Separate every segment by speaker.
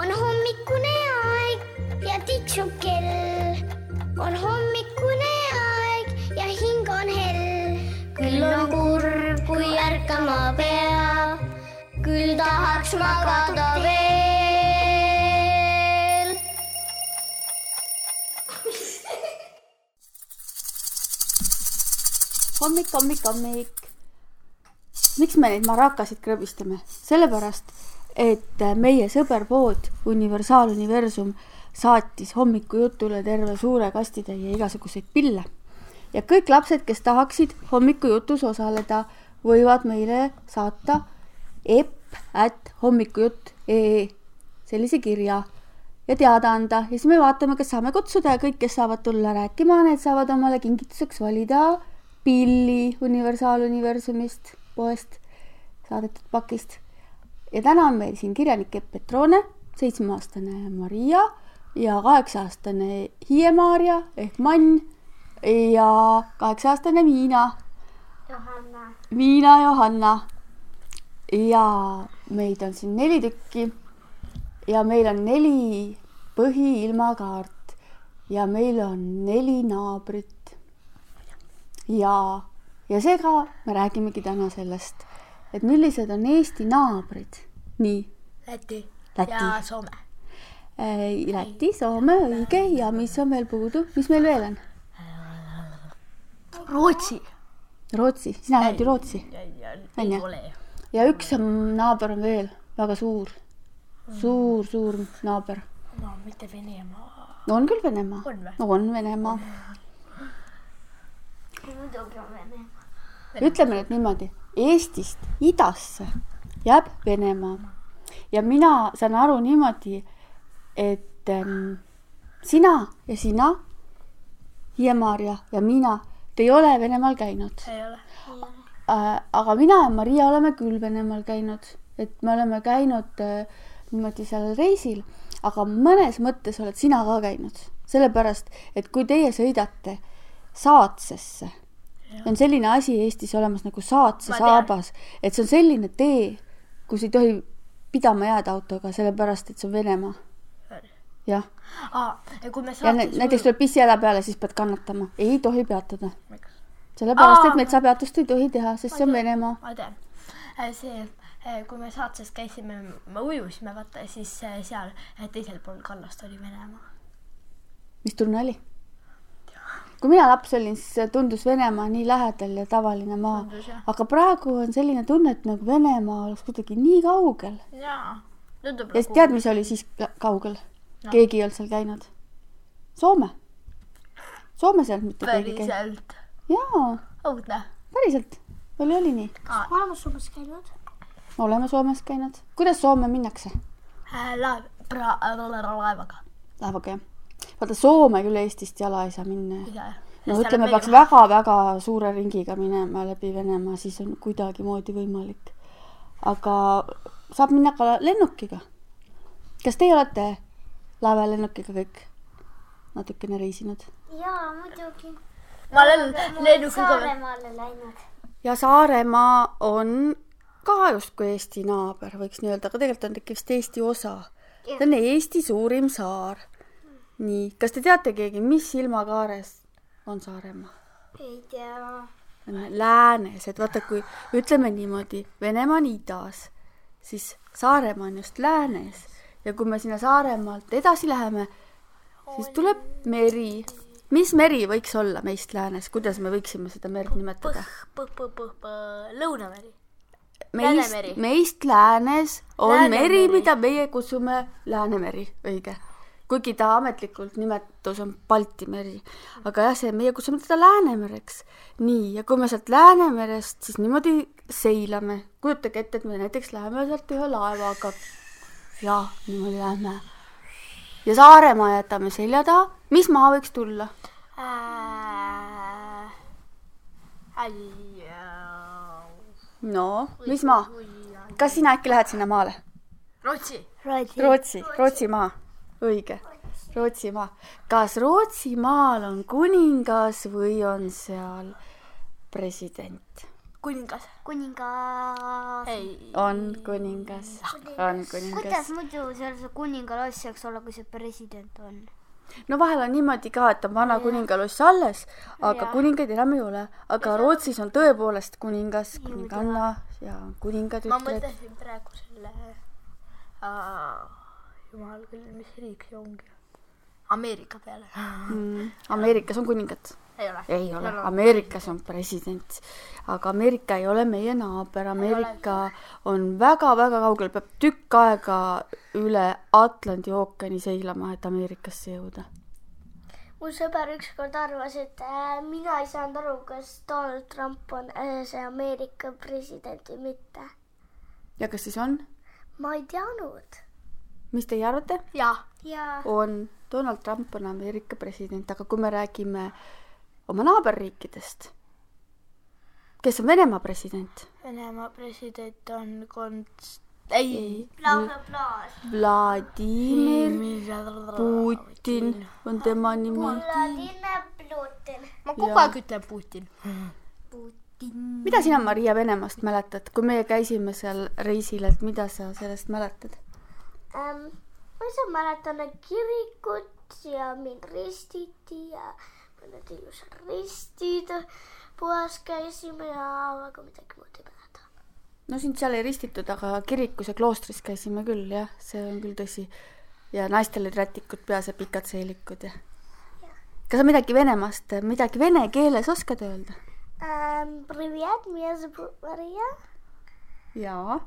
Speaker 1: on hommikune aeg ja tiksub kell . on hommikune aeg ja hing on hell . küll on kurb , kui ärkama peab , küll tahaks magada veel .
Speaker 2: hommik , hommik , hommik . miks me neid marakasid krõbistame ? sellepärast , et äh, meie sõberpood Universaal Universum saatis hommikujutule terve suure kastitäie igasuguseid pille ja kõik lapsed , kes tahaksid hommikujutus osaleda , võivad meile saata epp at hommikujutt ee sellise kirja ja teada anda ja siis me vaatame , kas saame kutsuda ja kõik , kes saavad tulla rääkima , need saavad omale kingituseks valida pilli Universaaluniversumist poest saadetud pakist . ja täna on meil siin kirjanik Epp Petrone , seitsmeaastane Maria ja kaheksa-aastane Hiie-Maarja ehk Mann ja kaheksa-aastane Miina ,
Speaker 1: Johanna ,
Speaker 2: Miina Johanna . ja meid on siin neli tükki ja meil on neli põhiilmakaart ja meil on neli naabrit . ja , ja seega me räägimegi täna sellest , et millised on Eesti naabrid . nii ,
Speaker 3: Läti,
Speaker 2: Läti.
Speaker 3: ja Soome .
Speaker 2: äh, Läti , Soome , õige ja mis on veel puudu , mis meil veel on ?
Speaker 3: Rootsi .
Speaker 2: Rootsi , sina oled ju Rootsi On
Speaker 3: ei
Speaker 2: ju?
Speaker 3: ole .
Speaker 2: ja üks on, naaber on veel väga suur , suur , suur naaber .
Speaker 3: no mitte Venemaa .
Speaker 2: no on küll Venemaa
Speaker 3: On või? ,
Speaker 2: on Venemaa ,
Speaker 1: muidugi on vene .
Speaker 2: ütleme nüüd niimoodi , Eestist idasse jääb Venemaa ja mina saan aru niimoodi , et ähm, sina ja sina , Hiie-Maarja ja mina , te ei ole Venemaal käinud
Speaker 3: ei ole .
Speaker 2: äh, , aga mina ja Maria oleme küll Venemaal käinud , et me oleme käinud äh, niimoodi seal reisil , aga mõnes mõttes oled sina ka käinud , sellepärast et kui teie sõidate Saatsesse , on selline asi Eestis olemas nagu Saatse
Speaker 3: Ma tean.
Speaker 2: saabas , et see on selline tee , kus ei tohi pidama jääda autoga , sellepärast et see on Venemaa . jah ,
Speaker 3: aa , Ah, kui me
Speaker 2: ja
Speaker 3: saates
Speaker 2: nä- näiteks tuleb pissihäda peale , siis pead kannatama , ei tohi peatada , sellepärast
Speaker 3: Aa.
Speaker 2: et metsapeatust ei tohi teha , sest see on Venemaa .
Speaker 3: ma tean , see , kui me saates käisime , me ujusime , vaata siis eh, seal eh, teisel pool kallast oli Venemaa .
Speaker 2: mis tunne oli ? kui mina laps olin , siis tundus Venemaa nii lähedal ja tavaline maa
Speaker 3: Tundus, jah. ,
Speaker 2: aga praegu on selline tunne , et nagu Venemaa oleks kuidagi nii kaugel .
Speaker 3: jaa , tundub nagu
Speaker 2: ja siis tead , mis oli siis ka- kaugel no. ? keegi ei olnud seal käinud . Soome . Soomes ei olnud mitte keegi käinud .
Speaker 3: päriselt
Speaker 2: jaa ,
Speaker 3: õudne .
Speaker 2: päriselt . oli , oli nii .
Speaker 1: me oleme Soomes käinud .
Speaker 2: oleme Soomes käinud . kuidas Soome minnakse ?
Speaker 3: Eh, laev , eh, laevaga .
Speaker 2: laevaga , jah ? vaata , Soome küll Eestist jala ei saa minna ju no ütleme , peaks
Speaker 3: väga .
Speaker 2: väga-väga suure ringiga minema läbi Venemaa , siis on kuidagimoodi võimalik . aga saab minna ka lennukiga . kas teie olete laevalennukiga kõik natukene reisinud ?
Speaker 1: ja muidugi .
Speaker 3: ma olen lennukiga ,
Speaker 1: Saaremaale läinud .
Speaker 2: ja Saaremaa on ka justkui Eesti naaber , võiks nii öelda , aga tegelikult on ta ikka vist Eesti osa . ta on Eesti suurim saar . nii , kas te teate keegi , mis ilmakaares on Saaremaa ?
Speaker 1: ei tea .
Speaker 2: on läänes , et vaata , kui ütleme niimoodi , Venemaa on idas , siis Saaremaa on just läänes ja kui me sinna Saaremaalt edasi läheme , siis tuleb meri . mis meri võiks olla meist läänes , kuidas me võiksime seda merd nimetada ?
Speaker 3: põh , põh , põh , põh , põh , Lõunameri .
Speaker 2: meist
Speaker 3: Läänemeri. ,
Speaker 2: meist läänes on
Speaker 3: Läänemeri.
Speaker 2: Läänemeri. meri , mida meie kutsume Läänemeri , õige . kuigi ta ametlikult nimetus on Balti meri , aga jah , see meie kutsume teda Läänemereks . nii , ja kui me sealt Läänemerest siis niimoodi seilame , kujutage ette , et me näiteks läheme sealt ühe laevaga ja niimoodi lähme . ja Saaremaa jätame selja taha , mis maa võiks tulla ? no , mis maa ? kas sina äkki lähed sinna maale ?
Speaker 3: Rootsi .
Speaker 1: Rootsi .
Speaker 2: Rootsi , Rootsimaa , õige , Rootsimaa . kas Rootsimaal on kuningas või on seal president ?
Speaker 3: kuningas .
Speaker 4: kuningas .
Speaker 3: ei ,
Speaker 2: on kuningas , on kuningas
Speaker 4: kuidas . muidu seal see kuningaloss saaks olla , kui see president on ?
Speaker 2: no vahel on niimoodi ka , et on vana kuningaloss alles , aga
Speaker 4: Jah.
Speaker 2: kuningaid enam ei ole . aga Rootsis on tõepoolest kuningas , kuninganna ja kuningad
Speaker 3: ma
Speaker 2: ütlevad .
Speaker 3: mõtlesin praegu selle äh, , jumal küll , mis riik see ongi ? Ameerika peale .
Speaker 2: Mm, Ameerikas on kuningad .
Speaker 3: ei ole ?
Speaker 2: ei ole , Ameerikas on president . aga Ameerika ei ole meie naaber , Ameerika on väga-väga kaugel , peab tükk aega üle Atlandi ookeani seilama , et Ameerikasse jõuda .
Speaker 1: mu sõber ükskord arvas , et äh, mina ei saanud aru , kas Donald Trump on äh, see Ameerika president või mitte .
Speaker 2: ja kas siis on ?
Speaker 1: ma ei teadnud .
Speaker 2: mis teie arvate ?
Speaker 3: jah ,
Speaker 1: ja
Speaker 2: on , Donald Trump on Ameerika president , aga kui me räägime oma naaberriikidest , kes on Venemaa president ?
Speaker 3: Venemaa president on konst- , ei .
Speaker 1: laulab laas .
Speaker 2: Vladimir Putin on tema nimi .
Speaker 1: Vladimir Putin .
Speaker 3: ma kogu aeg ütlen Putin .
Speaker 2: mida sina , Maria , Venemaast mäletad , kui meie käisime seal reisil , et mida sa sellest mäletad ?
Speaker 1: ähm, . ma ise mäletan et kirikut ja mind ristiti ja mõned ilusad ristid poes käisime ja aga midagi muud ei mäleta .
Speaker 2: no sind seal ei ristitud , aga kirikus ja kloostris käisime küll , jah , see on küll tõsi . ja naistel olid rätikud peas ja pikad seelikud ja . kas sa midagi Venemaast , midagi vene keeles oskad öelda ?
Speaker 1: Ähm, Привет , mina sõber Maria .
Speaker 2: jaa .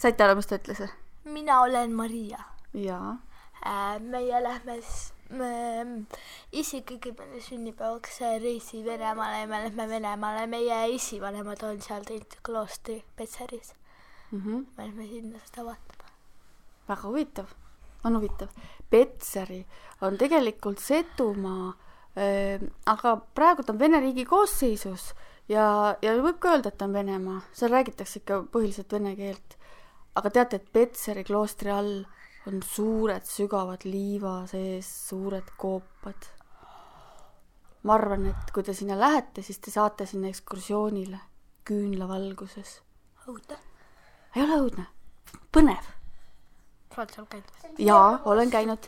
Speaker 2: saite aru , mis ta ütles või ?
Speaker 3: mina olen Maria
Speaker 2: jaa .
Speaker 3: äh, . meie lähme s- me- isi kõigepealt sünnipäevaks reisi Venemaale ja me lähme Venemaale . meie esivanemad on seal teinud kloostri Petseris .
Speaker 2: Mhm.
Speaker 3: me lähme sinna seda vaatama .
Speaker 2: väga huvitav , on huvitav . Petseri on tegelikult Setumaa , aga praegu ta on Vene riigi koosseisus ja , ja võib ka öelda , et ta on Venemaa , seal räägitakse ikka põhiliselt vene keelt . aga teate , et Petseri kloostri all on suured sügavad liiva sees suured koopad . ma arvan , et kui te sinna lähete , siis te saate sinna ekskursioonile küünlavalguses .
Speaker 3: õudne .
Speaker 2: ei ole õudne , põnev
Speaker 3: sa oled seal käinud ?
Speaker 2: jaa , olen käinud .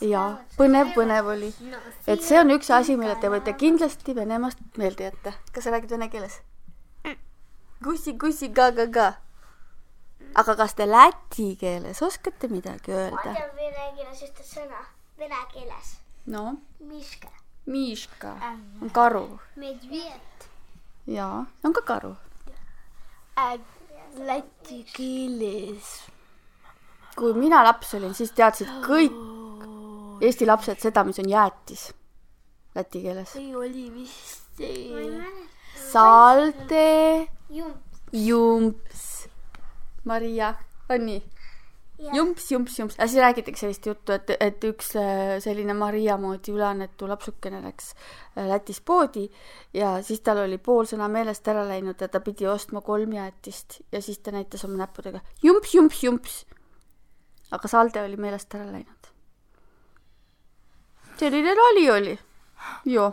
Speaker 2: jaa , põnev , põnev oli . et see on üks asi , mille te võite kindlasti Venemaast meelde jätta . kas sa räägid vene keeles ? kussi , kussi , ka , ka , ka . aga kas te läti keeles oskate midagi öelda ?
Speaker 1: tean vene keeles ühte sõna , vene keeles .
Speaker 2: no ,
Speaker 1: Miška .
Speaker 2: miška on karu
Speaker 1: Medved .
Speaker 2: jaa , on ka karu .
Speaker 3: Läti keeles .
Speaker 2: kui mina laps olin , siis teadsid kõik Eesti lapsed seda , mis on jäätis läti keeles .
Speaker 3: ei oli vist ei .
Speaker 2: salte
Speaker 1: Jump .
Speaker 2: jumps . Maria , on nii ?
Speaker 1: Jah.
Speaker 2: jumps , jumps , jumps , aga siis räägitakse sellist juttu , et , et üks äh, selline Maria moodi üleannetu lapsukene läks äh, Lätis poodi ja siis tal oli pool sõna meelest ära läinud ja ta pidi ostma kolm jäätist ja siis ta näitas oma näppudega jumps , jumps , jumps . aga salde oli meelest ära läinud . selline nali oli . joo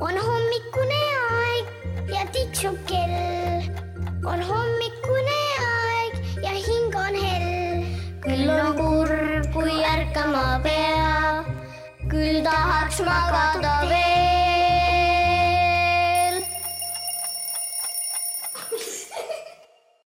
Speaker 1: on hommikune aeg ja tiksub kell . on hommikune aeg ja hing on hell . küll on kurb , kui ärkama pea , küll tahaks magada veel .